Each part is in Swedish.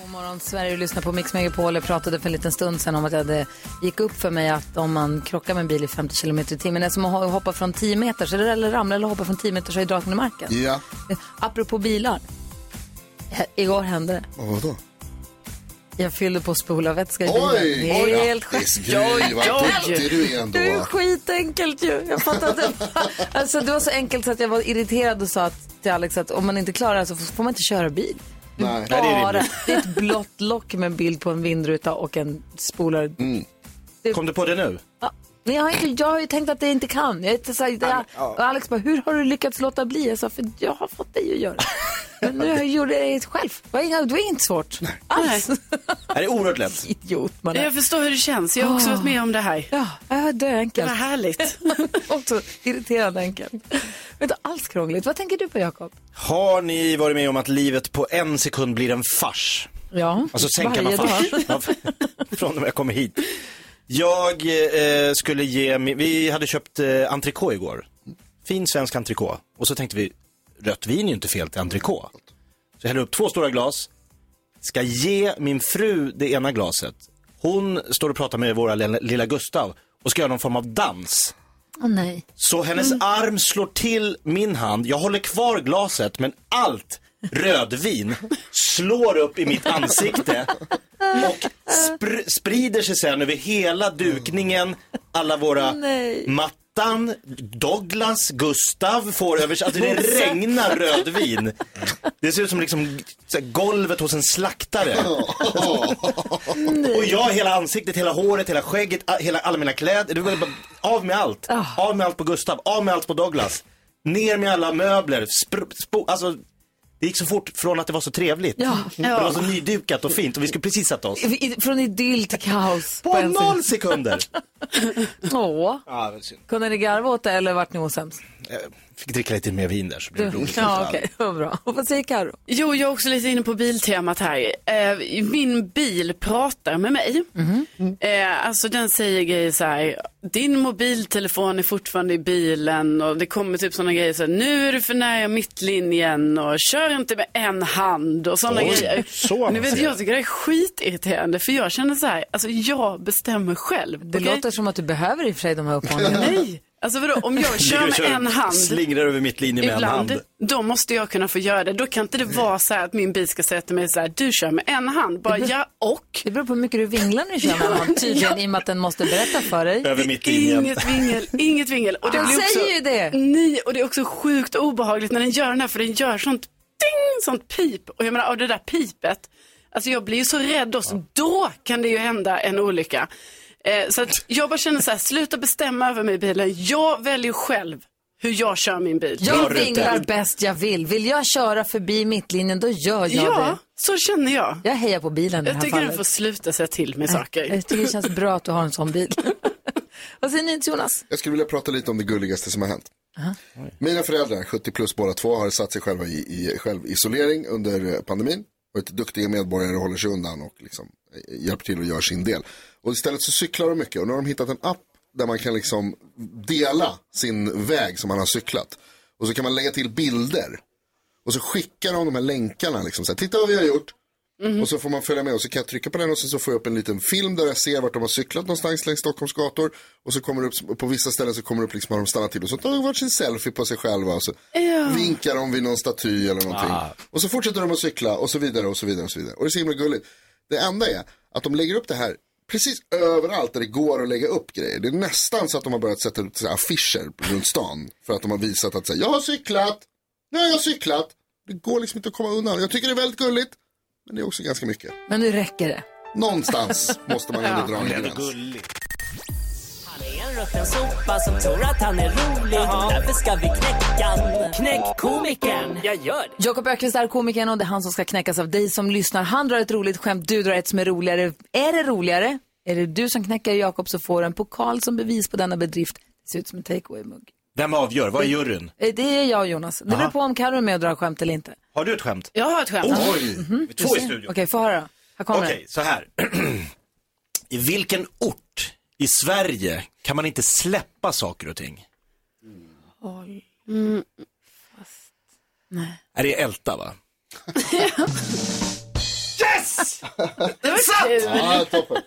God morgon Sverige, du lyssnar på Mix Megapol. Jag pratade för en liten stund sedan om att jag det gick upp för mig att om man krockar med en bil i 50 km i timmen, det är som att ho- hoppa från 10 meter, så det- eller ramla eller hoppa från 10 meter så är draken i marken. Ja. Eh, Apropå bilar, He- igår hände det. Och vadå? Jag fyllde på spolarvätska i Oj! bilen. Oj, Helt grattis, sjukt. Gry, vad duktig du är ändå. Det är ju skitenkelt ju. Jag fattar inte. alltså, det var så enkelt så att jag var irriterad och sa att, till Alex att om man inte klarar det här så får man inte köra bil. Nej. det är Bara. rimligt. Det är ett blått lock med en bild på en vindruta och en spolare. Mm. Kom du på det nu? Ja, Men jag har, inte, jag har ju tänkt att det inte kan. Jag är inte så, här- jag, och Alex bara, hur har du lyckats låta bli? Jag sa, för jag har fått dig att göra. Men nu har jag gjort det själv. Det var inga- det var inget svårt alls. Är det oerhört lätt? Idiot man är. Jag förstår hur det känns. Jag har också varit med om det här. Ja, det var Det var döenkelt. härligt. Också irriterande enkelt. Det var inte alls krångligt. Vad tänker du på, Jakob? Har ni varit med om att livet på en sekund blir en fars? Ja, Alltså sänka man varje dag. fars. Ja, Från och med jag kom hit. Jag eh, skulle ge, min- vi hade köpt eh, entrecote igår. Fin svensk entrecote. Och så tänkte vi, rött vin är ju inte fel till entrecote. Så jag häller upp två stora glas, ska ge min fru det ena glaset. Hon står och pratar med våra lilla lilla Gustav och ska göra någon form av dans. Åh, nej. Så hennes arm slår till min hand. Jag håller kvar glaset men allt rödvin slår upp i mitt ansikte och spr- sprider sig sen över hela dukningen, alla våra Nej. mattan, Douglas, Gustav får över sig, alltså det regnar rödvin. Det ser ut som liksom så här, golvet hos en slaktare. Och jag, hela ansiktet, hela håret, hela skägget, a- hela, alla mina kläder. Det var bara, av med allt. Av med allt på Gustav, av med allt på Douglas. Ner med alla möbler. Spr, spo, alltså, det gick så fort från att det var så trevligt. Ja. Det var så nydukat och fint och vi skulle precis sätta oss. I- i- Från idyll till kaos. På en sekund. noll sekunder! Åh, kunde ni garva åt det eller vart ni osams? Jag fick dricka lite mer vin där så blev det roligt. Ja, okej, vad bra. Och vad säger Karo? Jo, jag är också lite inne på biltemat här. Eh, min bil pratar med mig. Mhm. Eh, alltså den säger grejer så här, din mobiltelefon är fortfarande i bilen och det kommer typ sådana grejer så här, nu är du för nära mittlinjen och kör inte med en hand och sådana Oj, grejer. så nu vet avancerat. jag tycker det är skitirriterande för jag känner så här, alltså jag bestämmer själv. Det okej? låter som att du behöver i och för sig de här uppmaningarna. Nej, alltså vadå, om jag kör Ligger och med en hand Slingrar över mitt linje med en ibland, hand. då måste jag kunna få göra det. Då kan inte det vara så här att min bil ska säga till mig så här, du kör med en hand. Bara, ja och. Det beror på hur mycket du vinglar när du kör med hand, tydligen, i och med att den måste berätta för dig. Över mitt linje. Inget vingel, inget vingel. Och Den säger ju det. Nej, och det är också sjukt obehagligt när den gör den här, för den gör sånt ding, sånt pip. Och jag menar, av det där pipet, alltså jag blir ju så rädd då, så då kan det ju hända en olycka. Eh, så att jag bara känner så här, sluta bestämma över mig bilen. Jag väljer själv hur jag kör min bil. Jag Bra, Rute. vinglar bäst jag vill. Vill jag köra förbi mittlinjen, då gör jag det. Ja, så känner jag. Jag hejar på bilen i det Jag här tycker du fallet. får sluta säga till mig saker. Jag tycker det känns bra att du har en sån bil. Vad säger ni till Jonas? Jag skulle vilja prata lite om det gulligaste som har hänt. Mina föräldrar, 70 plus båda två, har satt sig själva i, i självisolering under eh, pandemin. Varit duktiga medborgare och håller sig undan och liksom eh, hjälper till och gör sin del. Och istället så cyklar de mycket och nu har de hittat en app där man kan liksom dela sin väg som man har cyklat. Och så kan man lägga till bilder. Och så skickar de de här länkarna liksom. Så här, Titta vad vi har gjort. Och så får man följa med och så kan jag trycka på den och sen så får jag upp en liten film där jag ser vart de har cyklat någonstans längs Stockholms gator. Och så kommer det upp, på vissa ställen så kommer det upp liksom när de stannar till och så tar de varsin selfie på sig själva och så vinkar de vid någon staty eller någonting. Och så fortsätter de att cykla och så vidare och så vidare och så vidare. Och det är så himla gulligt. Det enda är att de lägger upp det här precis överallt där det går att lägga upp grejer. Det är nästan så att de har börjat sätta ut så här affischer runt stan för att de har visat att så här, jag har cyklat, nu har jag cyklat. Det går liksom inte att komma undan. Jag tycker det är väldigt gulligt. Men det är också ganska mycket. Men nu räcker det. Någonstans måste man ändå dra en gräns. Gulligt. är en rutten sopa som tror att han är rolig. Därför ska vi knäcka Knäck komikern. Jag gör det. Jakob Ökvist är komikern och det är han som ska knäckas av dig som lyssnar. Han drar ett roligt skämt, du drar ett som är roligare. Är det roligare? Är det du som knäcker Jakob så får du en pokal som bevis på denna bedrift. Det ser ut som en takeaway-mugg. Vem avgör? Vad är juryn? Eh, Det är jag och Jonas. Det beror Aha. på om Carro är med och drar skämt eller inte. Har du ett skämt? Jag har ett skämt. Oj! Vi är Två i studion. Okej, få höra. Här kommer Okej, så här. I vilken ort i Sverige kan man inte släppa saker och ting? den. Är det Älta va? yes! Det var kul. Ja, toppen.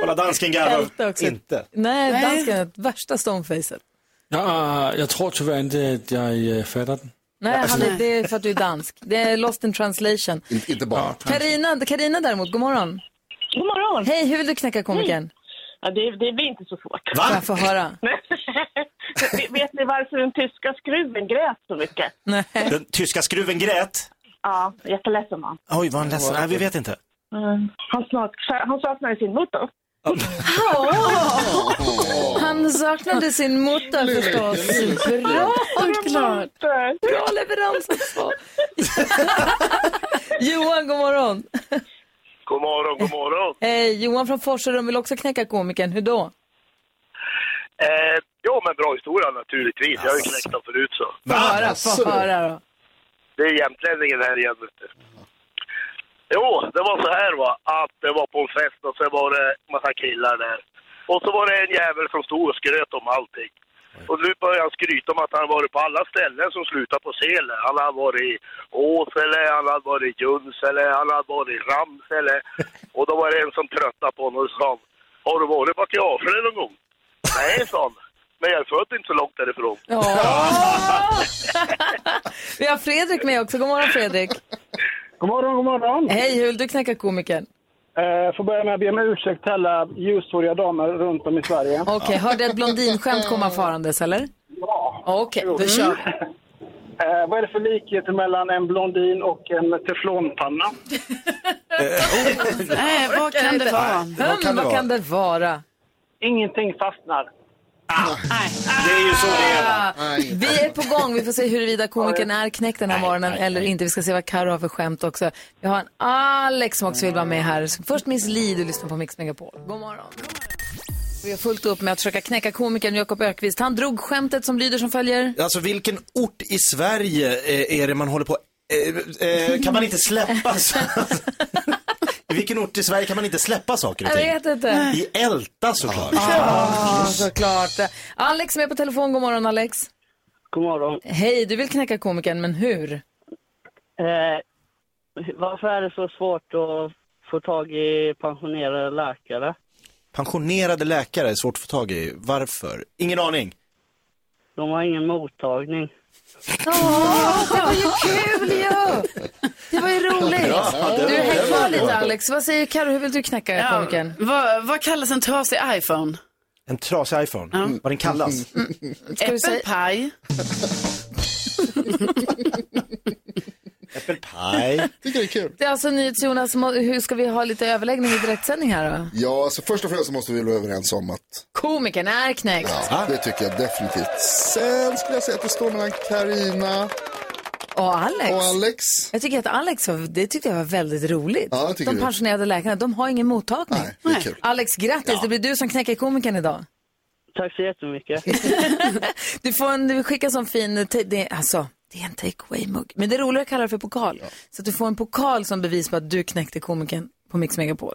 Kolla dansken Älta garvar också. inte. Nej, dansken är värsta stonefacet. Ja, øh, jeg tror tyvärr inte att jag øh, fatter den. Nej, Alltså, han är, det är för att du är dansk. Det är lost in translation. In, inte bara. Karina, Karina däremot, god morgon. God morgon! Hej, hur vill du knäcka komikern? Ja, det, det blir inte så svårt. Får Va? jag få höra? Vet ni varför den tyska skruven grät så mycket? Nej. Den tyska skruven grät. Ja, jätteledsen man. Oj, var han ledsen? Nej, vi vet inte. Han, snak, han saknade sin motor. Han saknade sin motor förstås. Mm. Bra, Såklart. bra leverans också. Johan, god morgon. God morgon, god morgon. Hej, Johan från Forserum vill också knäcka komikern. Hur då? Eh, ja, men bra historia naturligtvis. Jag har ju knäckt den förut så. Få höra, få höra då. Det är jämtlänningen här igen. vet du. Jo, det var så här va, att det var på en fest och så var det massa killar där. Och så var det en jävel som stod och skröt om allting. Och nu börjar han skryta om att han varit på alla ställen som slutar på sele. Han har varit i Åsele, han har varit i Junsele, han har varit i Ramsele. Och då var det en som tröttnade på honom och sa Har du varit bort i Asele någon gång? Nej, sa han. Men jag är född inte så långt därifrån. Åh! Vi har Fredrik med också. God morgon Fredrik. God morgon, god morgon. Hej, hur vill du knäcka komikern? Eh, får börja med att be om ursäkt till alla ljushåriga damer runt om i Sverige. Okej, hörde ett blondinskämt komma farandes eller? Ja. Okej, då kör vi. Mm. Eh, vad är det för likhet mellan en blondin och en teflonpanna? Nej, vad kan det vara? Hum, kan det vad vara? kan det vara? Ingenting fastnar. Det är ju så det är. Nej. Vi är på gång. Vi får se huruvida komikern är knäckt den här morgonen eller inte. Vi ska se vad Karo har för skämt också. Vi har en Alex som också vill vara med här. Först Miss Li, du lyssnar på Mix Megapol. God morgon. Vi har fullt upp med att försöka knäcka komikern Jakob Ökvist. Han drog skämtet som lyder som följer. Alltså vilken ort i Sverige eh, är det man håller på... Eh, eh, kan man inte släppa saker? I vilken ort i Sverige kan man inte släppa saker och Jag ting? vet inte. I Älta såklart. Ja, såklart. Alex är med på telefon. God morgon Alex. God morgon. Hej, du vill knäcka komikern, men hur? Eh, varför är det så svårt att få tag i pensionerade läkare? Pensionerade läkare är svårt att få tag i. Varför? Ingen aning. De har ingen mottagning. Det var ju kul ju! Det var ju roligt. Du, häng kvar lite Alex. Vad säger Karo? hur vill du knäcka Ja, komikern? vad, vad kallas en trasig iPhone? En trasig iPhone. Mm. Vad den kallas. Mm. du säga- Äppelpaj. Äppelpaj. Tycker det är kul. Det är alltså NyhetsJonas, må- hur ska vi ha lite överläggning i direktsändning här då? Ja, alltså först och främst så måste vi vara överens om att Komikern är knäckt. ja, det tycker jag definitivt. Sen skulle jag säga att det står mellan Karina Och Alex. och Alex. Jag tycker att Alex, var, det tyckte jag var väldigt roligt. Ja, jag tycker de det. pensionerade läkarna, de har ingen mottagning. Nej, det är kul. Alex, grattis, det blir du som knäcker komikern idag. Tack så jättemycket. Du får en, du skickas en fin, te- det, alltså det är en take away-mugg. Men det är roligare att kalla det för pokal. Så att du får en pokal som bevis på att du knäckte komikern på Mix Megapol.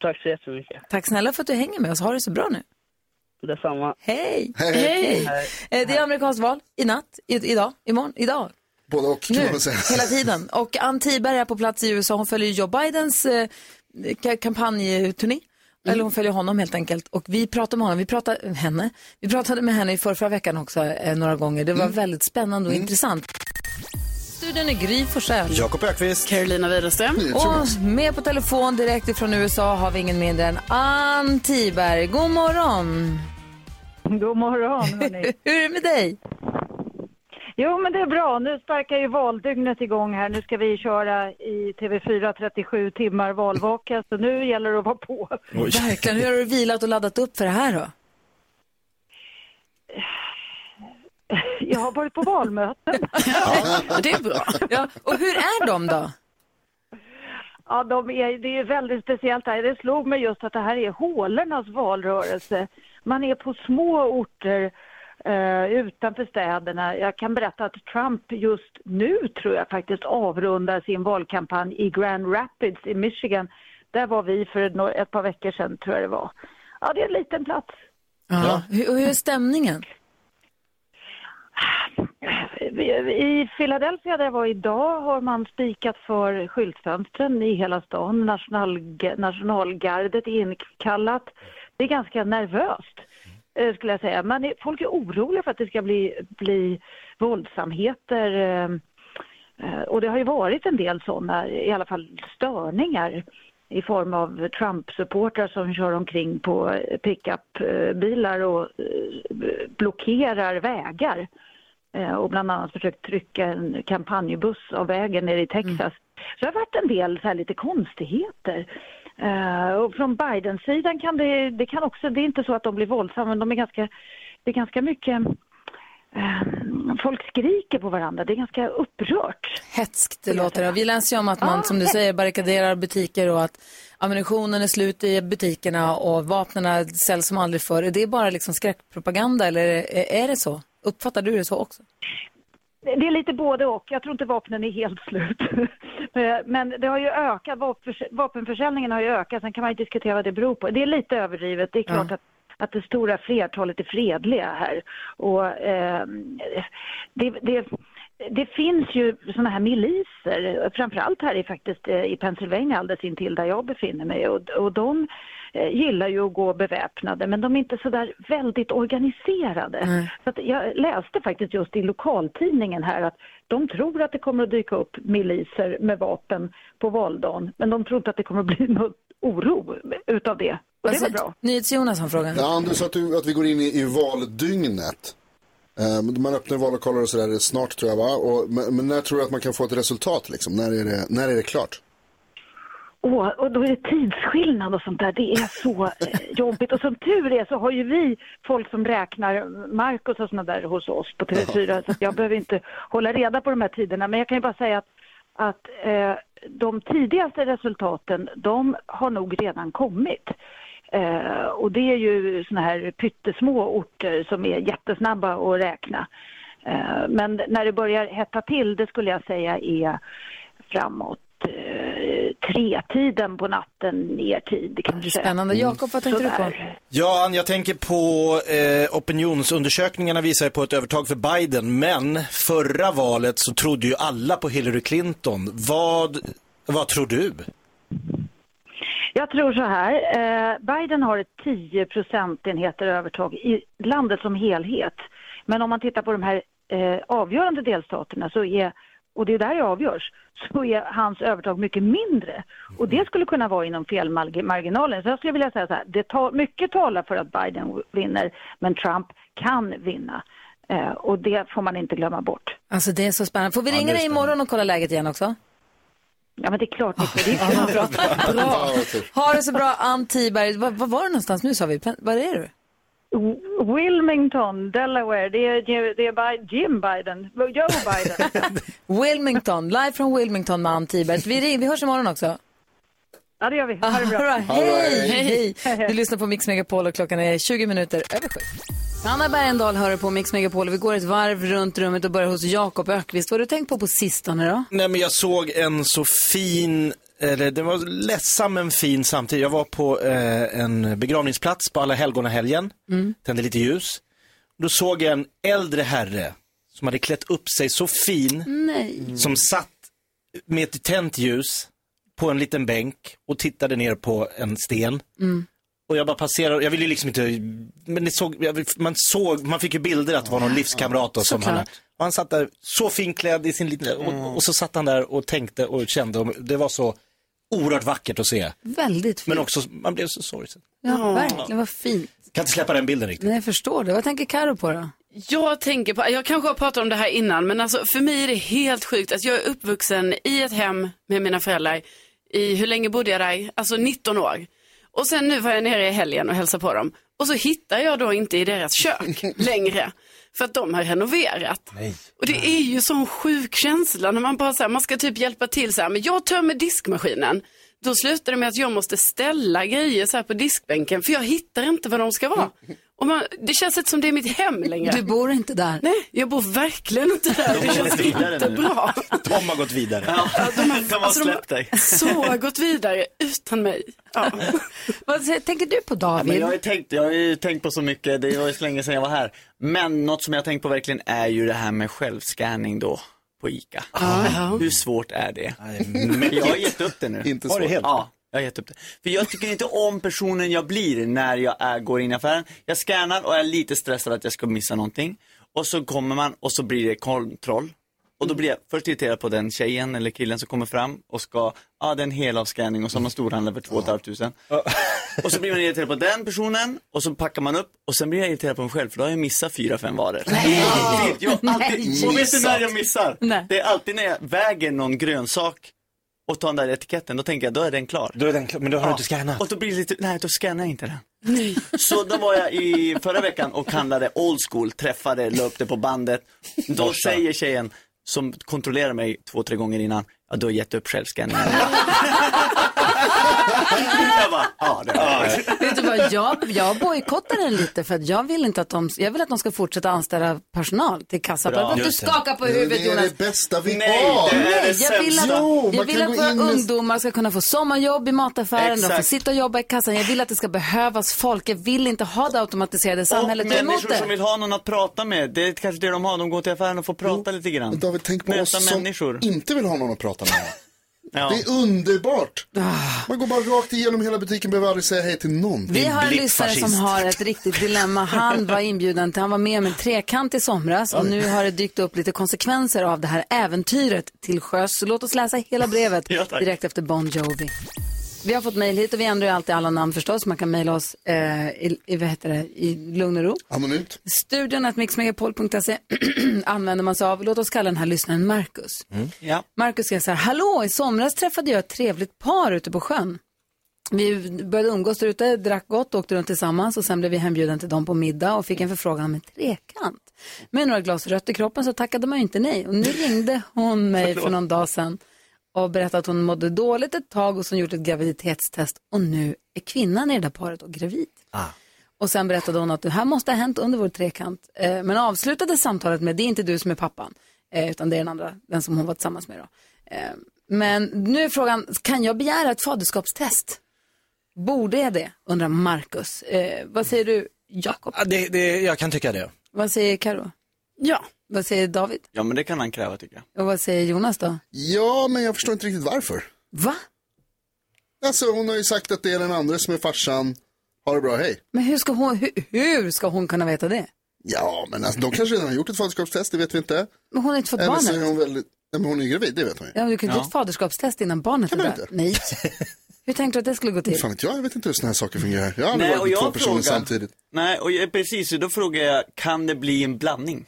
Tack så jättemycket. Tack snälla för att du hänger med oss, ha det så bra nu. Detsamma. Hej! Hej. Eh, Det är amerikanskt val i natt, i, idag, imorgon, idag. Både och kan nu, man säga. hela tiden. Och Ann Tiberg är på plats i USA. Hon följer Joe Bidens eh, ka- kampanjturné. Eller Mm. hon följer honom helt enkelt. Och vi pratade med honom, vi pratade, eh, henne. Vi pratade med henne i förra veckan också eh, några gånger. Det var Mm. väldigt spännande och intressant. Studion är Gry Forssell. Jakob Ökvist. Carolina Widerström. Och med på telefon direkt ifrån USA har vi ingen mindre än Ann Tiberg. God morgon! God morgon, hörni. Hur är det med dig? Jo, men det är bra. Nu sparkar ju valdygnet igång här. Nu ska vi köra i TV4 37 timmar valvaka, så nu gäller det att vara på. Verkligen. Hur har du vilat och laddat upp för det här då? Jag har varit på valmöten. Det är bra. Ja, och hur är de då? Ja, de är, det är väldigt speciellt här. Det slog mig just att det här är hålornas valrörelse. Man är på små orter eh, utanför städerna. Jag kan berätta att Trump just nu tror jag faktiskt avrundar sin valkampanj i Grand Rapids i Michigan. Där var vi för ett, no- ett par veckor sedan tror jag det var. Ja, det är en liten plats. Ja. Hur, hur är stämningen? I Philadelphia där jag var idag har man spikat för skyltfönstren i hela stan. National, nationalgardet är inkallat. Det är ganska nervöst eh, skulle jag säga. Man är, folk är oroliga för att det ska bli, bli våldsamheter. eh, eh, Och det har ju varit en del sådana, i alla fall störningar i form av Trump-supportrar som kör omkring på eh, pickup-bilar och eh, blockerar vägar. Eh, och bland annat försökt trycka en kampanjbuss av vägen nere i Texas. Så det har varit en del så här, lite konstigheter. Eh, och från Biden-sidan kan det, det kan också, det är inte så att de blir våldsamma, men de är ganska, det är ganska mycket, eh, folk skriker på varandra, det är ganska upprört. Hätskt det låter. det. Vi läser ju om att man, som du säger, barrikaderar butiker och att ammunitionen är slut i butikerna och vapnen säljs som aldrig förr. Är det bara liksom skräckpropaganda eller är- är det så? Uppfattar du det så också? Det är lite både och. Jag tror inte vapnen är helt slut. Eh, Men det har ju ökat, vapenförs- vapenförsäljningen har ju ökat. Sen kan man ju diskutera vad det beror på. Det är lite överdrivet. Det är klart att, att det stora flertalet är fredliga här. Och, eh, det, det, det finns ju sådana här miliser, framförallt här i, faktiskt, eh, i Pennsylvania alldeles intill där jag befinner mig. Och, och de eh, gillar ju att gå beväpnade men de är inte så där väldigt organiserade. Så att jag läste faktiskt just i lokaltidningen här att de tror att det kommer att dyka upp miliser med vapen på valdagen men de tror inte att det kommer att bli någon oro utav det. Och det var bra. NyhetsJonas har frågan. Ja, du sa att, du, att vi går in i, i valdygnet. Ehm, man öppnar vallokaler och sådär snart tror jag va? Och, men, men när tror du att man kan få ett resultat liksom? När är det, när är det klart? Åh, och då är det tidsskillnad och sånt där. Det är så eh, jobbigt. Och som tur är så har ju vi folk som räknar Marcus och såna där hos oss på TV4. Så att jag behöver inte hålla reda på de här tiderna. Men jag kan ju bara säga att, att eh, de tidigaste resultaten, de har nog redan kommit. Eh, och det är ju såna här pyttesmå orter som är jättesnabba att räkna. Eh, men när det börjar hetta till, det skulle jag säga är framåt eh, tre-tiden på natten, er tid kanske. Spännande. Jakob, vad tänkte du på? Ja, Ann, jag tänker på eh, opinionsundersökningarna visar ju på ett övertag för Biden, men förra valet så trodde ju alla på Hillary Clinton. Vad, vad tror du? Jag tror så här. Eh, Biden har ett 10 procentenheter övertag i landet som helhet. Men om man tittar på de här eh, avgörande delstaterna så är och det är där det avgörs, så är hans övertag mycket mindre. Och det skulle kunna vara inom felmarginalen. Så jag skulle vilja säga så här, det ta, mycket talar för att Biden vinner, men Trump kan vinna. Eh, och det får man inte glömma bort. Alltså det är så spännande. Får vi Ja, ringa det är dig imorgon och kolla läget igen också? Ja, men det är klart ni får det. bra. bra. typ. Ha det så bra, Ann Tiberg. Var, var var du någonstans nu sa vi? Pen- Var är du? Wilmington, Delaware. Det är, det är Bi- Jim Biden, Joe Biden. Wilmington, live från Wilmington med Ann Tiberg. Vi, ring, vi hörs imorgon också. Ja, det gör vi. Ha det bra. Hej, hej, Du lyssnar på Mix Megapol och klockan är 20 minuter över sju. Sanna Bergendahl hör på Mix Megapol. Vi går ett varv runt rummet och börjar hos Jakob Ökvist. Vad har du tänkt på på sistone då? Nej, men jag såg en så fin, eller den var ledsam men fin samtidigt. Jag var på eh, en begravningsplats på Alla helgonahelgen, tände lite ljus. Då såg jag en äldre herre som hade klätt upp sig så fin. Nej. som satt med ett tänt ljus på en liten bänk och tittade ner på en sten. Mm. Och jag bara passerade, jag ville ju liksom inte, men det såg, jag- man såg, man fick ju bilder att det var någon livskamrat då, som Såklart. han, och han satt där så finklädd i sin liten, och, och så satt han där och tänkte och kände, och det var så oerhört vackert att se. Väldigt fint. Men också, man blev så sorgsen. Ja, verkligen. Vad fint. Kan inte släppa den bilden riktigt. Nej, jag förstår det. Vad tänker Karo på då? Jag tänker på, jag kanske har pratat om det här innan, men alltså för mig är det helt sjukt. Alltså, jag är uppvuxen i ett hem med mina föräldrar i, hur länge bodde jag där? Alltså 19 år. Och sen nu var jag nere i helgen och hälsade på dem. Och så hittar jag då inte i deras kök längre. För att de har renoverat. Nej. Och det är ju sån sjuk känsla när man bara så här, man ska typ hjälpa till så här, men jag tömmer diskmaskinen. Då slutar det med att jag måste ställa grejer så här på diskbänken för jag hittar inte vad de ska vara. Och man, det känns inte som det är mitt hem längre. Du bor inte där. Nej, jag bor verkligen inte där. Det känns inte bra. De har gått vidare. Ja, de har, alltså, de släppt dig. har så gått vidare utan mig. Ja. Vad säger- tänker du på Ja, men David? jag, har ju tänkt, jag har ju tänkt på så mycket, det var ju så länge sedan jag var här. Men något som jag har tänkt på verkligen är ju det här med självscanning då på ICA. Hur svårt är det? mäktigt. jag har gett upp det nu. Inte Har du svårt. helt? Ja, jag har gett upp det. För jag tycker inte om personen jag blir när jag är, går in i affären. Jag scannar och är lite stressad att jag ska missa någonting. Och så kommer man och så blir det kontroll. Och då blir jag först irriterad på den tjejen eller killen som kommer fram och ska, ja ah, det är en helavscanning och så har man storhandlat för 2 500. Och så blir man irriterad på den personen och så packar man upp och sen blir jag irriterad på mig själv för då har jag missat fyra, fem varor. Alltid. Jag har alltid, Nej. och vet du när jag missar? Nej. Det är alltid när jag väger någon grönsak och tar den där etiketten, då tänker jag då är den klar. Då är den klar, men då har du inte scannat. Och då blir det lite, nej då scannar jag inte den. Så då var jag i förra veckan och handlade old school, träffade, löpte på bandet. Då Borsta. säger tjejen som kontrollerar mig två, tre gånger innan, ja du har gett upp självscanningen. jag bara, ja det har jag. Vet du vad, jag, jag bojkottar den lite för att jag vill inte att de, jag vill att de ska fortsätta anställa personal till Bra. kassapersonal. Du Just det. skakar på huvudet Det är Jonas. det bästa vi Nej, har. det är Nej, jag vill att, Jo, jag man vill kan att gå våra in med- ungdomar ska kunna få sommarjobb i mataffären, de får Exakt. sitta och jobba i kassan. Jag vill att det ska behövas folk. Jag vill inte ha det automatiserade samhället. Och Jag är emot människor det. som vill ha någon att prata med, det är kanske det de har, de går till affären och får prata lite grann. Men David, tänk på Möta oss som människor. inte vill ha någon att prata med. Ja. Det är underbart. Man går bara rakt igenom hela butiken, behöver aldrig säga hej till någon. Ah. Vi har en lyssnare som har ett riktigt dilemma. Han var inbjuden till, han var med om en trekant i somras och nu har det dykt upp lite konsekvenser av det här äventyret till sjöss. Så låt oss läsa hela brevet Ja, tack. direkt efter Bon Jovi. Vi har fått mejl hit och vi ändrar ju alltid alla namn förstås. Man kan mejla oss eh, i, i, vad heter det, i lugn och ro. Anonymt. Studion att mixmegapol.se använder man sig av. Låt oss kalla den här lyssnaren Marcus. Ja. Marcus skrev så här, hallå, i somras träffade jag ett trevligt par ute på sjön. Vi började umgås där ute, drack gott, åkte runt tillsammans och sen blev vi hembjuden till dem på middag och fick en förfrågan om en trekant. Med några glas rött i kroppen så tackade man ju inte nej. Och nu ringde hon mig för någon dag sedan och berättade att hon mådde dåligt ett tag och som gjort ett graviditetstest och nu är kvinnan i det där paret och gravid. Och sen berättade hon att det här måste ha hänt under vår trekant. Eh, men avslutade samtalet med, det är inte du som är pappan, eh, utan det är den andra, den som hon var tillsammans med då. Eh, men nu är frågan, kan jag begära ett faderskapstest? Borde jag det? Undrar Marcus. Eh, vad säger du, Jakob? Ja, det, det, jag kan tycka det. Vad säger Karo? Ja. Vad säger David? ja, men det kan han kräva tycker jag. Och vad säger Jonas då? Ja, men jag förstår inte riktigt varför. Va? Alltså, hon har ju sagt att det är den andra som är farsan. Ha det bra, hej. Men hur ska hon, hur, hur ska hon kunna veta det? Ja, men alltså, de kanske redan har gjort ett faderskapstest, det vet vi inte. Men hon har inte fått Eller så är barnet. hon väldigt... Nej, men hon är ju gravid, det vet hon ju. Ja, men du kan ju Ja. inte ett faderskapstest innan barnet Kan är man där. Nej. Hur tänkte du att det skulle gå till? Fan vet jag, jag vet inte hur sådana här saker fungerar. Jag har aldrig Nej, och varit med jag två personer frågar- samtidigt. Nej, och jag, precis, då frågar jag, kan det bli en blandning?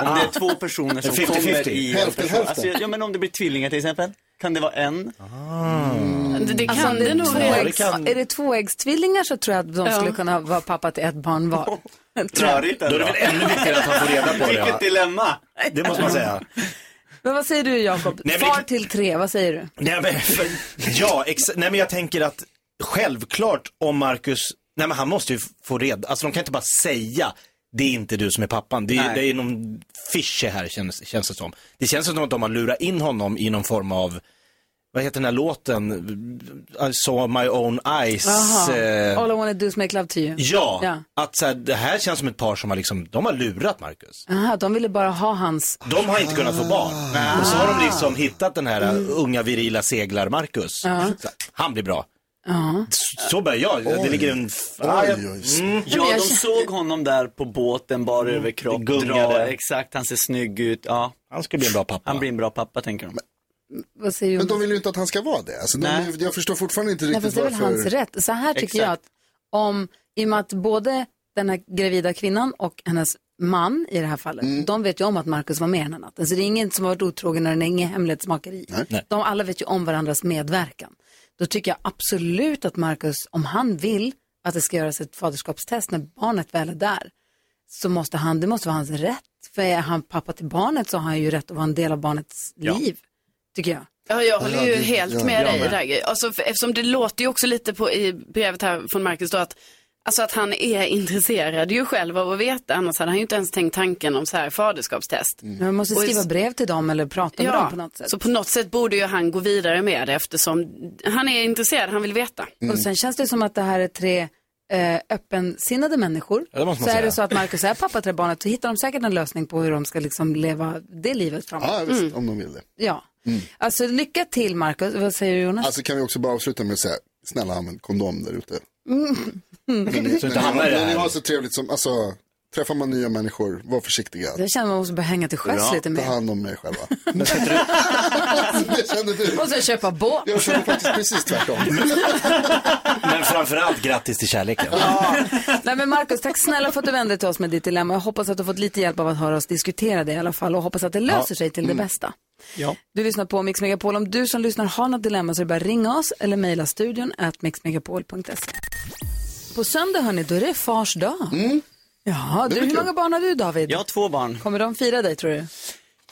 Om det är två personer som 50-50. kommer i en Hälften, person. hälften. Alltså, ja, men om det blir tvillingar till exempel, kan det vara en? Ah. Det, det kan Alltså, om det det är, nog vara. tvåäggs, är det tvåäggstvillingar så tror jag att de skulle kunna vara pappa till ett barn var. Rörigt Då är det väl ännu viktigare att han får reda på det. Vilket va? dilemma! Det måste man säga. Men vad säger du Jakob? Nej, men det- Far till tre, vad säger du? Nej men, för, ja, ex, nej, men jag tänker att självklart om Marcus, nej men han måste ju få reda, alltså de kan inte bara säga det är inte du som är pappan. Det, är- Nej. det är någon fische här känns, känns det som. Det känns som att de har lurat in honom i någon form av, vad heter den här låten? I saw my own eyes. Jaha. eh, All I wanna do is make love to you. ja, Ja. att så här, det här känns som ett par som har liksom, de har lurat Marcus. Aha, de ville bara ha hans. De har inte kunnat få Ah. barn. Och så har de liksom hittat den här äh, unga virila seglar-Marcus. Så, Han blir bra. Ja. S- Så börjar jag. Det ligger en... f- Ah, jag- Oj, oj, Ja, de såg honom där på båten, bara över kropp, Mm. Det gungade. drar, exakt, han ser snygg ut, ja. Han ska bli en bra pappa. Han blir en bra pappa tänker de. Vad säger Men de Jonas? vill ju inte att han ska vara det. Alltså, de, Nej. jag förstår fortfarande inte Nej, riktigt fast det är väl varför. hans rätt. Så här tycker Exakt. jag att om, i och med att både den här gravida kvinnan och hennes man i det här fallet, Mm. de vet ju om att Marcus var med den här natten. Så det är ingen som har varit otrogen och det är ingen hemlighetsmakeri. Nej. De alla vet ju om varandras medverkan. Då tycker jag absolut att Marcus, om han vill att det ska göras ett faderskapstest när barnet väl är där, så måste han, det måste vara hans rätt. För är han pappa till barnet så har han ju rätt att vara en del av barnets liv, tycker jag. Ja, jag håller ju Ja, det- helt ja, med jag dig med. där. Alltså, för, eftersom det låter ju också lite på, i brevet här från Marcus då att Alltså att han är intresserad ju själv av att veta, annars hade han ju inte ens tänkt tanken om så här faderskapstest. Mm. Men man måste Och i- skriva brev till dem eller prata med dem på något sätt. så på något sätt borde ju han gå vidare med det eftersom han är intresserad, han vill veta. Mm. Och sen känns det som att det här är tre eh, öppensinnade människor. Ja, det måste så man är säga. det så att Marcus är pappa till det här barnet så hittar de säkert en lösning på hur de ska liksom leva det livet framåt. Ja, visst, Mm. om de vill det. ja. Mm. Alltså lycka till Marcus, vad säger du Jonas? Alltså kan vi också bara avsluta med att säga, snälla använd kondom där ute. Mm. När ni- när ni har så trevligt som, alltså, träffar man nya människor, var försiktiga. Jag känner man måste börja hänga till sjöss lite Ta mer. hand om er själva. Och sen köpa båt. Jag känner faktiskt precis tvärtom. Men framförallt grattis till kärleken. Nej men Marcus, tack snälla för att du vände dig till oss med ditt dilemma. Jag hoppas att du har fått lite hjälp av att höra oss diskutera det i alla fall och hoppas att det löser Ja. sig till det Mm. bästa. Du lyssnar på Mix Megapol. Om du som lyssnar har något dilemma så är det bara att ringa oss eller mejla studion at mixmegapol.se. På söndag hörni, då är det fars dag. Mm. Ja, Det du, blir hur kul. många barn har du David? Jag har två barn. Kommer de fira dig tror du?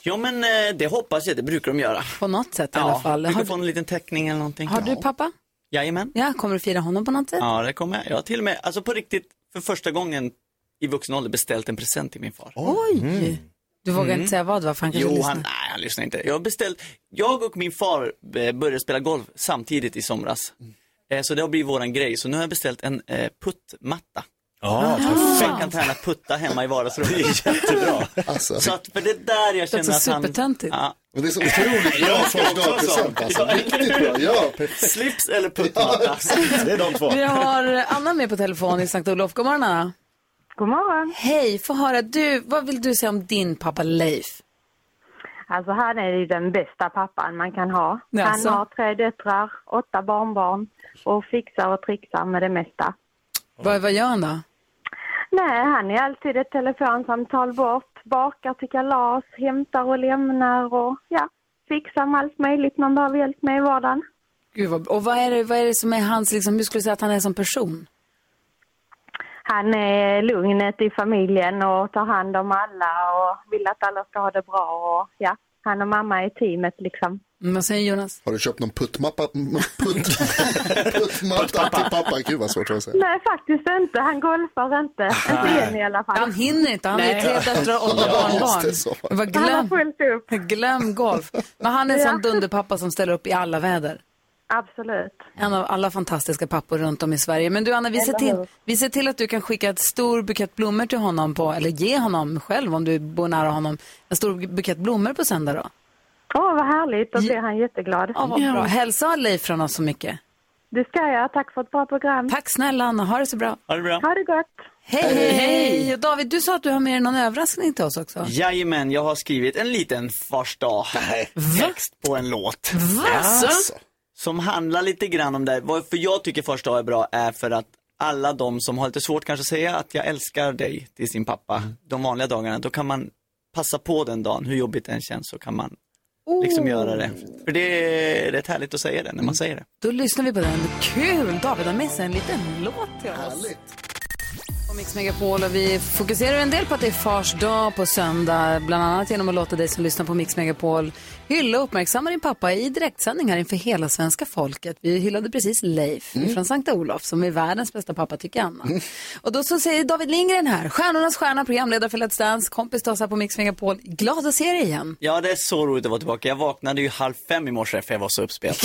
Ja men eh, det hoppas jag, det brukar de göra. På något sätt i alla fall. Brukar Har, få en liten teckning eller någonting. har du pappa? Jajamän. Ja, kommer du fira honom på något sätt? Ja det kommer jag. Jag har till och med, alltså på riktigt, för första gången i vuxen ålder beställt en present till min far. Oj! Du vågar Mm. inte säga vad va? För han kanske Jo, lyssnar. han, nej, han lyssnar inte. Jag, har beställt, jag och min far eh, började spela golf samtidigt i somras. Eh, Så det har blivit våran grej. Så nu har jag beställt en eh, puttmatta. Ja, Så jag kan träna putta hemma i vardagsrummet. Det är jättebra. Så att, för det är där jag Det låter känner att han... supertöntigt. Ja. Men det är så otroligt bra Jag ska första också ha present, sån. alltså. Ja, eller Riktigt hur? bra. Ja, Slips eller puttmatta. Det är de två. Vi har Anna med på telefon i Sankt Olof. God morgon Anna. God morgon. Hej, få höra du, vad vill du säga om din pappa Leif? Alltså han är ju den bästa pappan man kan ha. Jaså? Han har tre döttrar, åtta barnbarn och fixar och trixar med det mesta. Vad, vad gör han då? Nej, han är alltid ett telefonsamtal bort, bakar till kalas, hämtar och lämnar och ja, fixar med allt möjligt man behöver hjälp med i vardagen. Gud vad, och vad är, det, vad är det som är hans, liksom, hur skulle du säga att han är som person? Han är lugnet i familjen och tar hand om alla och vill att alla ska ha det bra och ja, han och mamma är teamet liksom. Mm, Vad säger Jonas? Har du köpt någon puttmappa, putt, puttmatta till pappa? Gud vad svårt det var att säga. Nej, faktiskt inte. Han golfar inte. Inte än i alla fall. Han hinner inte, han har ju Nej. tre döttrar och åtta Ja, just det, barnbarn. så. Men vad Han glöm, glöm golf. Men han är en Ja. sån dunderpappa som ställer upp i alla väder. Absolut. En av alla fantastiska pappor runt om i Sverige. Men du Anna, vi ser Eller till, hur? vi ser till att du kan skicka ett stor bukett blommor till honom på, eller ge honom själv om du bor nära honom, en stor bukett blommor på söndag då. Åh, vad härligt. Då blir han jätteglad. Ja, vad bra. Hälsa Leif från oss så mycket. Det ska jag. Tack för ett bra program. Tack snälla Anna, ha det så bra. Ha det bra. Ha det gott. Hej, hej, hej. Och David, du sa att du har med dig någon överraskning till oss också. Jajamän, jag har skrivit en liten fars dag text på en låt. Va? Alltså? Som handlar lite grann om det här. Varför jag tycker fars dag är bra är för att alla de som har lite svårt kanske att säga att jag älskar dig till sin pappa de vanliga dagarna, då kan man passa på den dagen, hur jobbigt den känns så kan man liksom Oh. göra det. För det är rätt härligt att säga det när man säger det. Då lyssnar vi på den. Kul! David har med sig en liten låt till oss. På Mix Megapol och vi fokuserar en del på att det är fars dag på söndag. Bland annat genom att låta dig som lyssnar på Mix Megapol hylla och uppmärksamma din pappa i direktsändning här inför hela svenska folket. Vi hyllade precis Leif från Sankta Olof som är världens bästa pappa tycker Anna. Och då så säger David Lindgren här, stjärnornas stjärna, programledare för Let's Dance, kompis till oss här på Mix Megapol. Glad att se dig igen. Ja, det är så roligt att vara tillbaka. Jag vaknade ju halv fem i morse för jag var så uppspelt.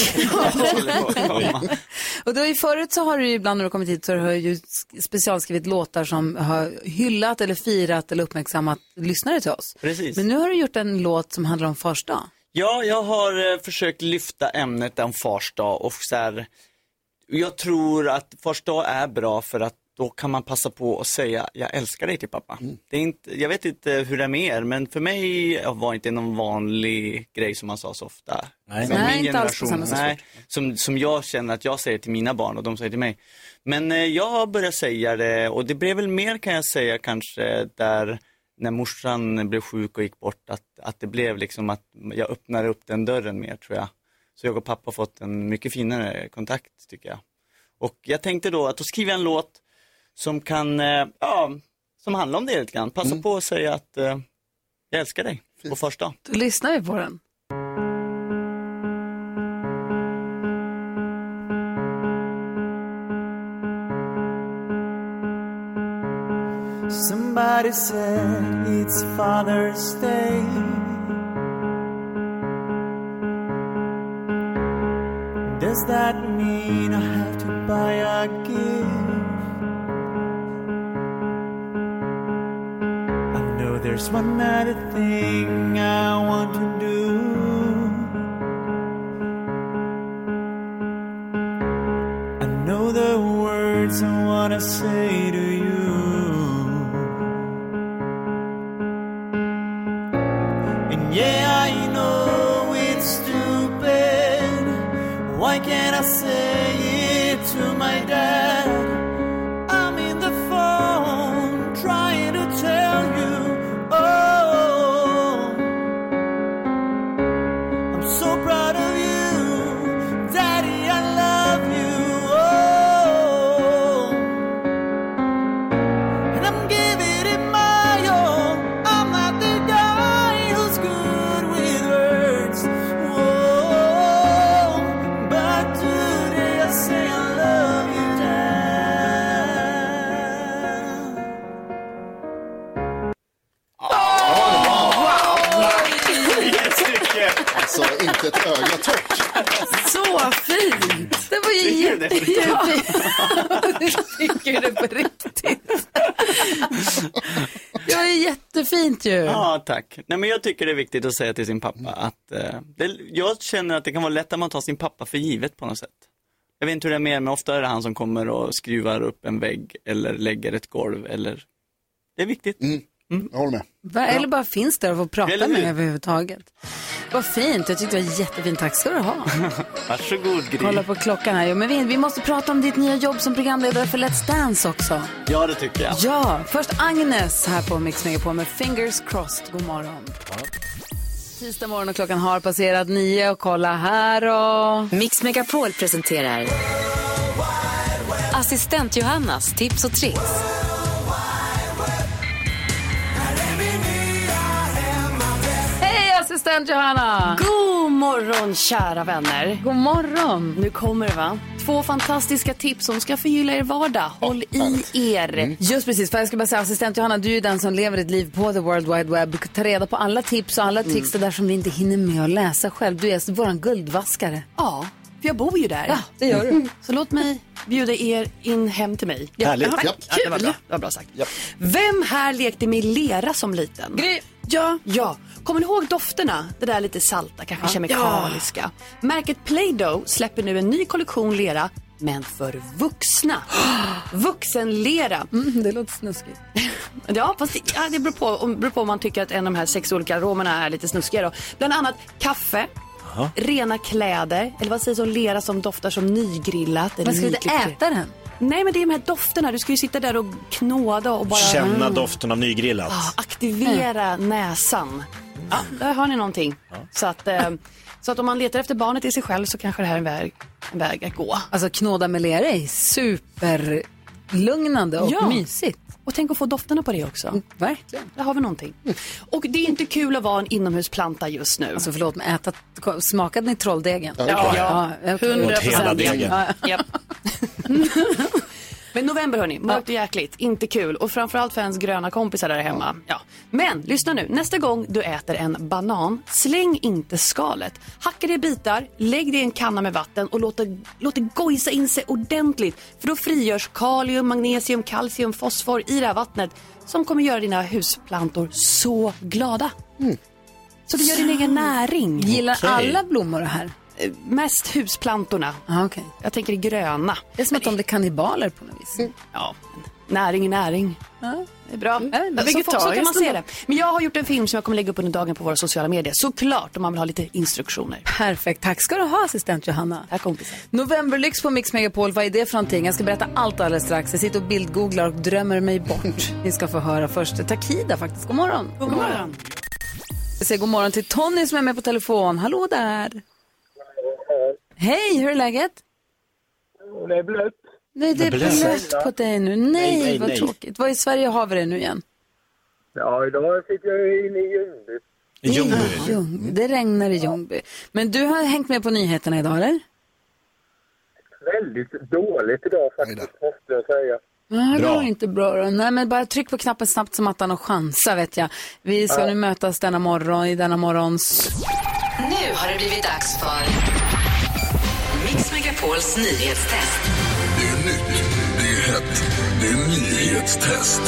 Och då i förut så har du ju ibland när du kommit hit så har du ju sk- specialskrivit låtar som har hyllat eller firat eller uppmärksammat lyssnare till oss. Precis. Men nu har du gjort en låt som handlar om fars dag. Ja, jag har eh, försökt lyfta ämnet om fars dag och så här, jag tror att fars dag är bra för att då kan man passa på att säga jag älskar dig till pappa. Det är inte, jag vet inte hur det är med er, men för mig var det inte någon vanlig grej som man sa så ofta. Nej, Som nej, min inte alls på generation, samma sätt. Nej, som, som jag känner att jag säger till mina barn och de säger till mig. Men eh, jag har börjat säga det och det blev väl mer kan jag säga kanske där när morsan blev sjuk och gick bort att, att det blev liksom att jag öppnade upp den dörren mer tror jag. Så jag och pappa har fått en mycket finare kontakt tycker jag. Och jag tänkte då att då skriver jag en låt som kan, eh, ja, som handlar om det lite grann. Passa på att säga att eh, jag älskar dig på första. Då lyssnar vi på den. Somebody said it's Father's Day. Does that mean I have to buy a gift? I know there's one other thing I want to do. I know the words I wanna say to you. And yeah, I know it's stupid. Why can't I say it to my dad? I'm in the phone trying to tell you, oh, I'm so proud of you. Daddy, I love you. Oh, and I'm giving it my all. I'm not the guy who's good with words. Oh, but today I say I love you, Dad. Alltså inte ett öga torrt. Så fint! Det var ju jätte, jätte... Tycker det på riktigt. Det var ju jättefint ju. Ja, tack. Nej, men jag tycker det är viktigt att säga till sin Mm. pappa att eh, det, jag känner att det kan vara lätt att man tar sin pappa för givet på något sätt. Jag vet inte hur det är med er, men ofta är det han som kommer och skruvar upp en vägg eller lägger ett golv eller Det är viktigt. Mm. Mm, Jag håller med. Va, Eller bara finns där och får prata med överhuvudtaget. Vad fint, jag tyckte det var jättefint. Tack ska du ha. Varsågod Gry. Kolla på klockan här. Jo, men vi, vi måste prata om ditt nya jobb som programledare för Let's Dance också. Ja, det tycker jag. Ja, först Agnes här på Mix på med Fingers Crossed. God morgon. Tisdag morgon och klockan har passerat nio och kolla här och... Mix Megapol presenterar Assistent Johannas tips och tricks. Hej assistent Johanna! God morgon kära vänner. God morgon. Nu kommer det va? Två fantastiska tips som ska förgylla er vardag. Håll i er. Just precis, för jag ska bara säga assistent Johanna, du är ju den som lever ett liv på the world wide web. Ta reda på alla tips och alla Mm. tricks det där som vi inte hinner med att läsa själv. Du är våran guldvaskare. Ja, för jag bor ju där. Ja, det gör du. Mm. Så låt mig bjuda er in hem till mig. Ja. Härligt. Tack. Ja. Ja, det var bra. Det var bra sagt. Vem här lekte med lera som liten? Gry. Ja, ja. Kommer ni ihåg dofterna? Det där lite salta, kanske Ja. kemikaliska. Märket Play-Doh släpper nu en ny kollektion lera, men för vuxna. Vuxenlera. Mm, det låter snuskigt. Ja, fast det, ja, det beror, på, om, beror på om man tycker att en av de här sex olika aromerna är lite snuskiga. Då. Bland annat kaffe, rena kläder, eller vad sägs om lera som doftar som nygrillat. Eller Men ska vi inte nykryckt- äta den? Nej, men det är de här dofterna. Du ska ju sitta där och knåda och bara Känna Mm. doften av nygrillat. Ah, aktivera Mm. näsan. Ja, där har ni någonting. Så, att, eh, så att om man letar efter barnet i sig själv så kanske det här är en väg, en väg att gå. Alltså knåda med lera är superlugnande och Ja. mysigt. Mm, Och tänk att få dofterna på det också. verkligen. Där har vi någonting. Och det är inte kul att vara en inomhusplanta just nu. Alltså förlåt, men äta, smakade ni trolldegen? Ja, ja. okej. 100%. Åt hela degen. Ja, Men november hörni, mörkt och jäkligt, inte kul. Och framförallt för ens gröna kompisar där hemma. Ja. Men lyssna nu, nästa gång du äter en banan, släng inte skalet. Hacka det i bitar, lägg det i en kanna med vatten och låt det, låt det gojsa in sig ordentligt. För då frigörs kalium, magnesium, kalcium, fosfor i det här vattnet som kommer göra dina husplantor så glada. Så det gör din egen näring. Mm. Gillar alla blommor det här? Eh, Mest husplantorna. Ah, okay. Jag tänker det gröna. Mm. Det är som att de blir kannibaler på något vis. Ja, näring är näring. Det är bra. men så, får- så kan man vegetariskt se ändå. det. Men jag har gjort en film som jag kommer lägga upp under dagen på våra sociala medier. Såklart om man vill ha lite instruktioner. Perfekt. Tack ska du ha, assistent Johanna. Tack kompisar. Novemberlyx på Mix Megapol, vad är det för någonting? Jag ska berätta allt alldeles strax. Jag sitter och bildgooglar och drömmer mig bort. Ni ska få höra först Takida faktiskt. God morgon. God morgon. Vi säger god morgon till Tony som är med på telefon. Hallå där. Hej, hur är läget? Det är blött. Nej, det är Det blöder. blött på dig nu. Nej, Nej, nej, vad nej. tråkigt. Var i Sverige har vi det nu igen? Ja, idag sitter jag inne i Ljungby. I Ljungby. Ljung, det regnar i Ljungby. Men du har hängt med på nyheterna idag, eller? Väldigt dåligt idag faktiskt, måste jag säga. Nej, det Bra. var inte bra då. Nej, men bara tryck på knappen snabbt som attan och chansa vet jag. Vi ska Ja. nu mötas denna morgon i denna morgons... Nu har det blivit dags för Mix Megapols nyhetstest. Det är nytt, det är hett, det är nyhetstest.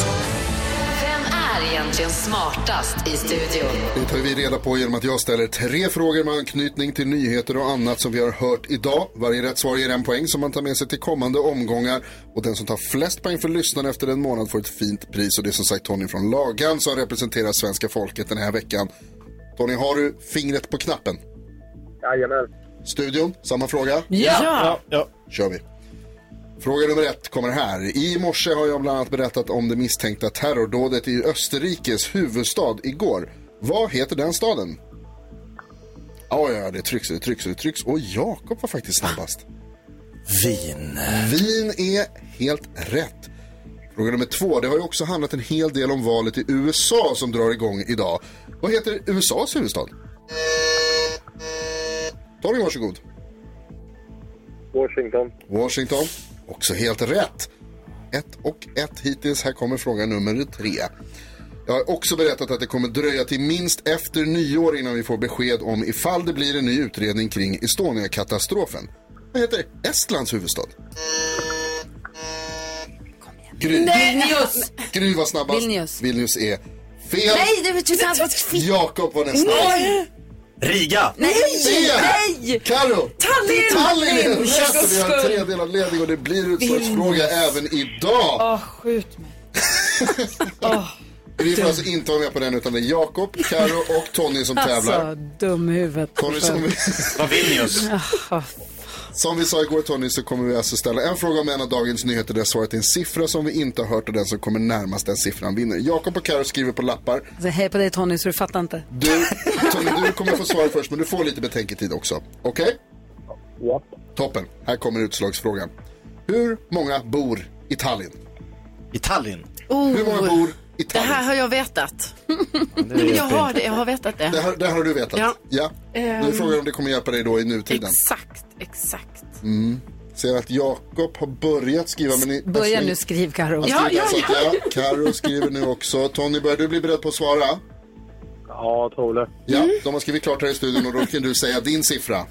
Vem är egentligen smartast i studion? Det tar vi reda på genom att jag ställer tre frågor med anknytning till nyheter och annat som vi har hört idag. Varje rätt svar ger en poäng som man tar med sig till kommande omgångar. Och den som tar flest poäng för lyssnaren efter en månad får ett fint pris. Och det är som sagt Tony från Lagan som representerar svenska folket den här veckan. Tony, har du fingret på knappen? Jajamän. Studion, samma fråga? Ja. Ja, kör vi. Fråga nummer ett kommer här. I morse har jag bland annat berättat om det misstänkta terrordådet i Österrikes huvudstad igår. Vad heter den staden? Ja, ja, det trycks, det trycks, det trycks. Och Jakob var faktiskt snabbast. Vin. Vin är helt rätt. Fråga nummer två. Det har ju också handlat en hel del om valet i USA som drar igång idag. Vad heter USAs huvudstad? Torgny, varsågod. Washington. Washington. Också helt rätt. Ett och ett hittills. Här kommer fråga nummer tre. Jag har också berättat att det kommer dröja till minst efter nyår innan vi får besked om ifall det blir en ny utredning kring Estonia-katastrofen. Vad heter Estlands huvudstad? Gry. Nej, Vilnius! Gry var snabbast. Vilnius. Vilnius är fel. Nej, det var tjusigt! Jakob var näst snabbast. Riga! Nej! Nej! Carro! Tallinn! Tallinn! Tallinn! Vi har en tredelad ledning och det blir utslagsfråga Vilnius. även idag. Åh, skjut mig. Vi får alltså inte vara med på den utan det är Jakob, Carro och Tony som Alltså, tävlar. dumhuvudet. Tony som vi... Vad Vilnius? Som vi sa igår Tony så kommer vi alltså ställa en fråga om en av dagens nyheter där svaret är en siffra som vi inte har hört och den som kommer närmast den siffran vinner. Jakob och Carro skriver på lappar. Alltså, hej på dig Tony, så du fattar inte. Du, Tony, du kommer få svara först, men du får lite betänketid också. Okej? Ja. Toppen. Här kommer utslagsfrågan. Hur många bor i Tallinn? I Tallinn? Hur många bor i Det Tallinn? här har jag vetat. Det Nej, men jag har det, jag har vetat det. Det här, det här har du vetat? Ja. ja. Nu Ehm. är frågan om det kommer hjälpa dig då i nutiden. Exakt, exakt. Mm. Ser att Jakob har börjat skriva. Men Alltså, ni, Börja nu, skriv Karo. Ja, ja, ja. Karo skriver nu också. Tony, börjar du bli beredd på att svara? Ja, tror det. Ja, de har skrivit klart här i studion och då kan du säga din siffra.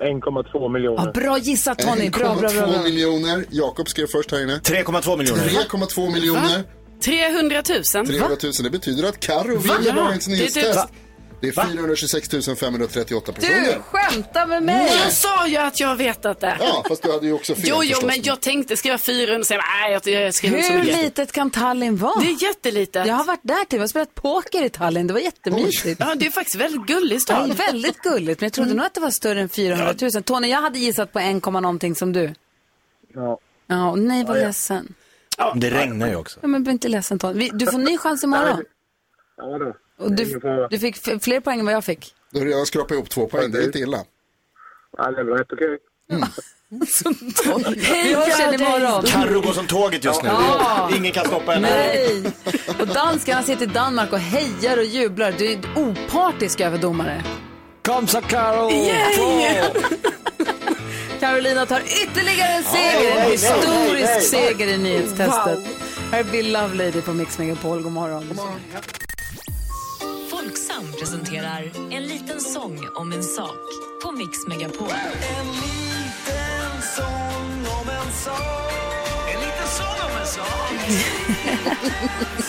1,2 miljoner. Bra gissat Eh, Tony, bra, bra, bra. 1,2 bra. miljoner. Jakob skrev först här inne. 3,2 miljoner. 3,2 miljoner. 300 000. 300 000. Det betyder att Carro Va? vinner Ja, dagens det är nyhetstest. det. Det är 426 538 Du personer. skämtar med mig! Nej. Jag sa ju att jag har vetat det. Ja, fast du hade ju också fel Jo, jo, förstås. men jag tänkte skriva 400 och sen nej, jag, jag skrev inte så Hur mycket. litet kan Tallinn vara? Det är jättelitet. Jag har varit där till, vi har spelat poker i Tallinn, det var jättemysigt. Ja, det är faktiskt väldigt gulligt Ja, väldigt gulligt, men jag trodde Mm. nog att det var större än 400 000. Tony, jag hade gissat på 1, någonting som du. Ja. Ja, och nej vad Ja, ja. ledsen. Det regnar ju också. Ja, men bli inte ledsen Tony. Vi- Du får en ny chans imorgon. Ja, då. Och du, du fick f- fler poäng än vad jag fick. Du har redan skrapat ihop två poäng, det är inte illa. Ja, det är väl rätt okej. Vi hörs igen imorgon. Carro går som tåget just nu. Ja. Ingen kan stoppa henne. Nej! Och danskarna sitter i Danmark och hejar och jublar. Du är opartisk över domare. Kom så Karo! Yay! Två! Carolina tar ytterligare en seger. nej, En nej, historisk nej, nej. seger i nyhetstestet. Wow. Här är Bill Lovelady på Mix Megapol. God morgon. Folksam presenterar En liten sång om en sak på Mix Megapol. En sång om en sak. En liten sång om en sak.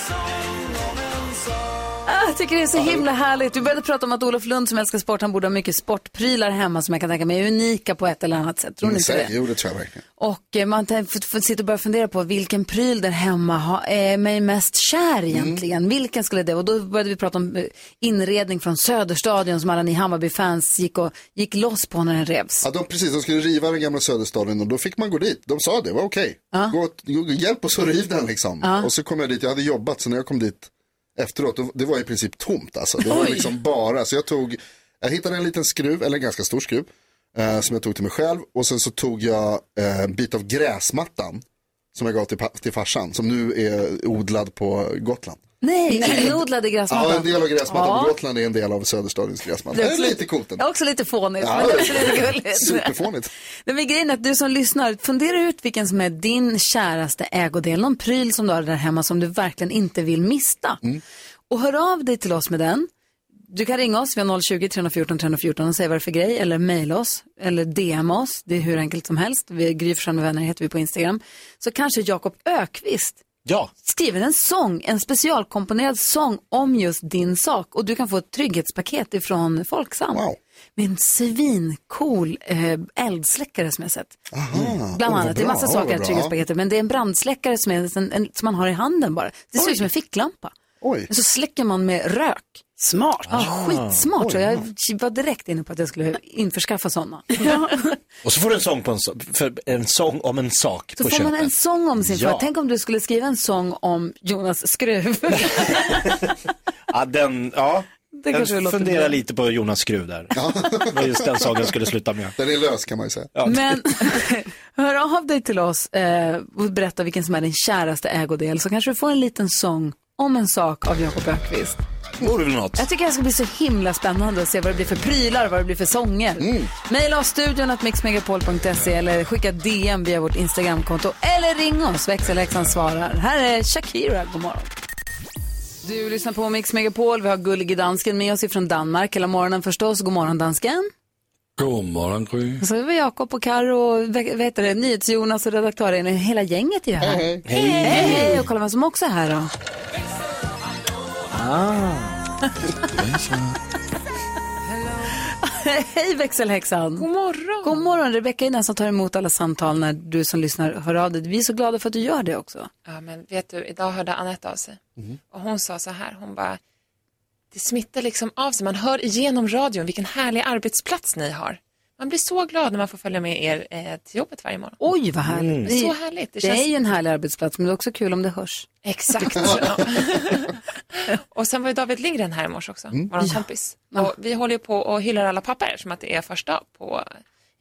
sång om en sak. Ah, Jag tycker det är så himla härligt. Vi började prata om att Olof Lund som älskar sport, han borde ha mycket sportprylar hemma som jag kan tänka mig är unika på ett eller annat sätt. Tror ni inte Mm, det? Jo, det tror jag verkligen. Och eh, man tän- f- f- sitter och börjar fundera på vilken pryl där hemma ha, är mig mest Mm. kär egentligen. Vilken skulle det vara? Och då började vi prata om eh, inredning från Söderstadion som alla ni Hammarby-fans gick, och, gick loss på när den revs. Ja, de, precis, de skulle riva den gamla Söderstaden och då fick man gå dit. De sa det, var okej. Gå åt- gå- Hjälp oss att riv den liksom. Ja. Och så kom jag dit, jag hade jobbat, så när jag kom dit efteråt, då, det var i princip tomt alltså. Det var Oj. liksom bara, så jag tog, jag hittade en liten skruv, eller en ganska stor skruv, eh, som jag tog till mig själv. Och sen så tog jag eh, en bit av gräsmattan som jag gav till, pa- till farsan, som nu är odlad på Gotland. Nej, inodlade gräsmattan. Mm. Ja, en del av gräsmattan Ja. på Gotland är en del av Söderstadions gräsmatta. Det är lite coolt ändå. Ja, också lite fånigt, Ja, men det är också lite gulligt. Superfånigt. Nej, men grejen är att du som lyssnar, fundera ut vilken som är din käraste ägodel, någon pryl som du har där hemma som du verkligen inte vill mista. Mm. Och hör av dig till oss med den. Du kan ringa oss, vi har 020 314 314 och säga vad det är för grej, eller mejla oss, eller DM oss, det är hur enkelt som helst. Vi är Gry Forssell med vänner heter vi på Instagram. Så kanske Jakob Ökvist Ja. skriver en sång, en specialkomponerad sång om just din sak och du kan få ett trygghetspaket ifrån Folksam. Med en svincool eh, eldsläckare som jag sett. Bland annat, det är massa saker i trygghetspaketet men det är en brandsläckare som, är en, en, som man har i handen bara. Det ser ut som en ficklampa. Oj. Så släcker man med rök. Smart. Ja, Ah. skitsmart. Oj, Så jag var direkt inne på att jag skulle införskaffa sådana. Och så får du en sång, på en, så- för en sång om en sak Så får på köpet. man en sång om sin Ja. far. Tänk om du skulle skriva en sång om Jonas Skruv. Ja, den, ja. Det kanske jag låter funderar bra. lite på Jonas Skruv där. Vad just den saken skulle sluta med. Den är lös kan man ju säga. Ja. Men hör av dig till oss eh, och berätta vilken som är din käraste ägodel så kanske du får en liten sång om en sak av Jakob Ökvist. Vore väl något. Jag tycker det ska bli så himla spännande att se vad det blir för prylar och vad det blir för sånger. Maila oss studion att mixmegapol.se eller skicka DM via vårt Instagramkonto eller ring oss, växelhäxan svarar. Här är Shakira, god morgon. Du lyssnar på Mix Megapol, vi har gullig dansken med oss ifrån Danmark hela morgonen förstås. God morgon dansken. God morgon, Gry. Och Så är vi Jakob och Karo, vad heter det, NyhetsJonas och redaktören, hela gänget är ju här. Hej, hej. hej, hej. Och kolla vem som också är här då. Ah. hej växelhäxan. God morgon. God morgon, Rebecka är den som tar emot alla samtal när du som lyssnar hör av dig. Vi är så glada för att du gör det också. Ja, men vet du, idag hörde Anette av sig. Och hon sa så här, hon bara, det smittar liksom av sig. Man hör igenom radion vilken härlig arbetsplats ni har. Man blir så glad när man får följa med er eh, till jobbet varje morgon. Oj, vad härligt. Det är Mm. så härligt. Det, Det är känns- ju en härlig arbetsplats, men det är också kul om det hörs. Exakt. ja. och sen var ju David Lindgren här i morse också, Mm. vår Ja. kompis. Och vi håller ju på och hyllar alla papper som att det är första på,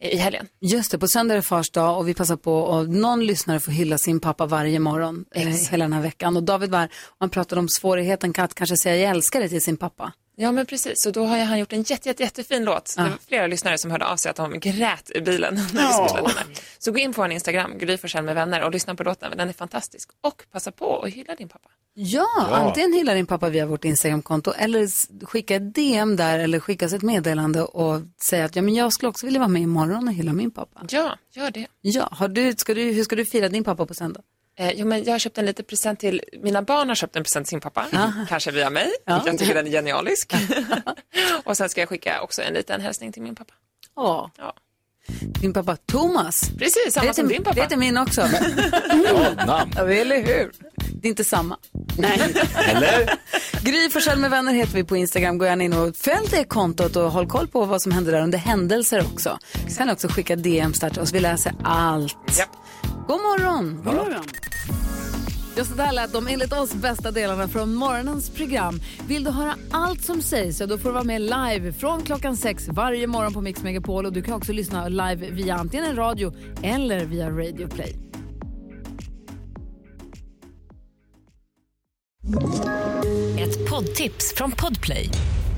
i helgen. Just det, på söndag är det fars dag och vi passar på och någon lyssnare får hylla sin pappa varje morgon eh, Exakt. hela den här veckan. Och David var här och han pratade om svårigheten att kanske säga jag älskar dig till sin pappa. Ja men precis, och då har ju han gjort en jätte, jätte, jättefin låt. Det var flera lyssnare som hörde av sig att de grät i bilen. när vi spelade den här. Så gå in på vår Instagram, Gry Forssell med vänner och lyssna på låten, den är fantastisk. Och passa på och hylla din pappa. Ja, Ja. antingen hylla din pappa via vårt Instagramkonto eller s- skicka ett DM där eller skicka oss ett meddelande och säga att ja, men jag skulle också vilja vara med imorgon och hylla min pappa. Ja, gör det. Ja, har du, ska du, hur ska du fira din pappa på söndag? Eh, jo, men jag har köpt en liten present till, mina barn har köpt en present till sin pappa, kanske via mig. Ja. Jag tycker den är genialisk. och sen ska jag skicka också en liten hälsning till min pappa. Åh. Ja. Din pappa Thomas. Precis, samma Det heter- som din pappa. Det heter min också. namn. Ja, eller hur? Det är inte samma. Eller? Gry Forssell med vänner heter vi på Instagram. Gå gärna in och följ det kontot och håll koll på vad som händer där under händelser också. Sen också skicka DMs där till oss. Vi läser allt. God morgon! God morgon. Just så där lät de enligt oss bästa delarna från morgonens program. Vill du höra allt som sägs så då får du vara med live från klockan sex varje morgon på Mix Megapol. Och du kan också lyssna live via antingen en radio eller via Radio Play. Ett poddtips från Podplay.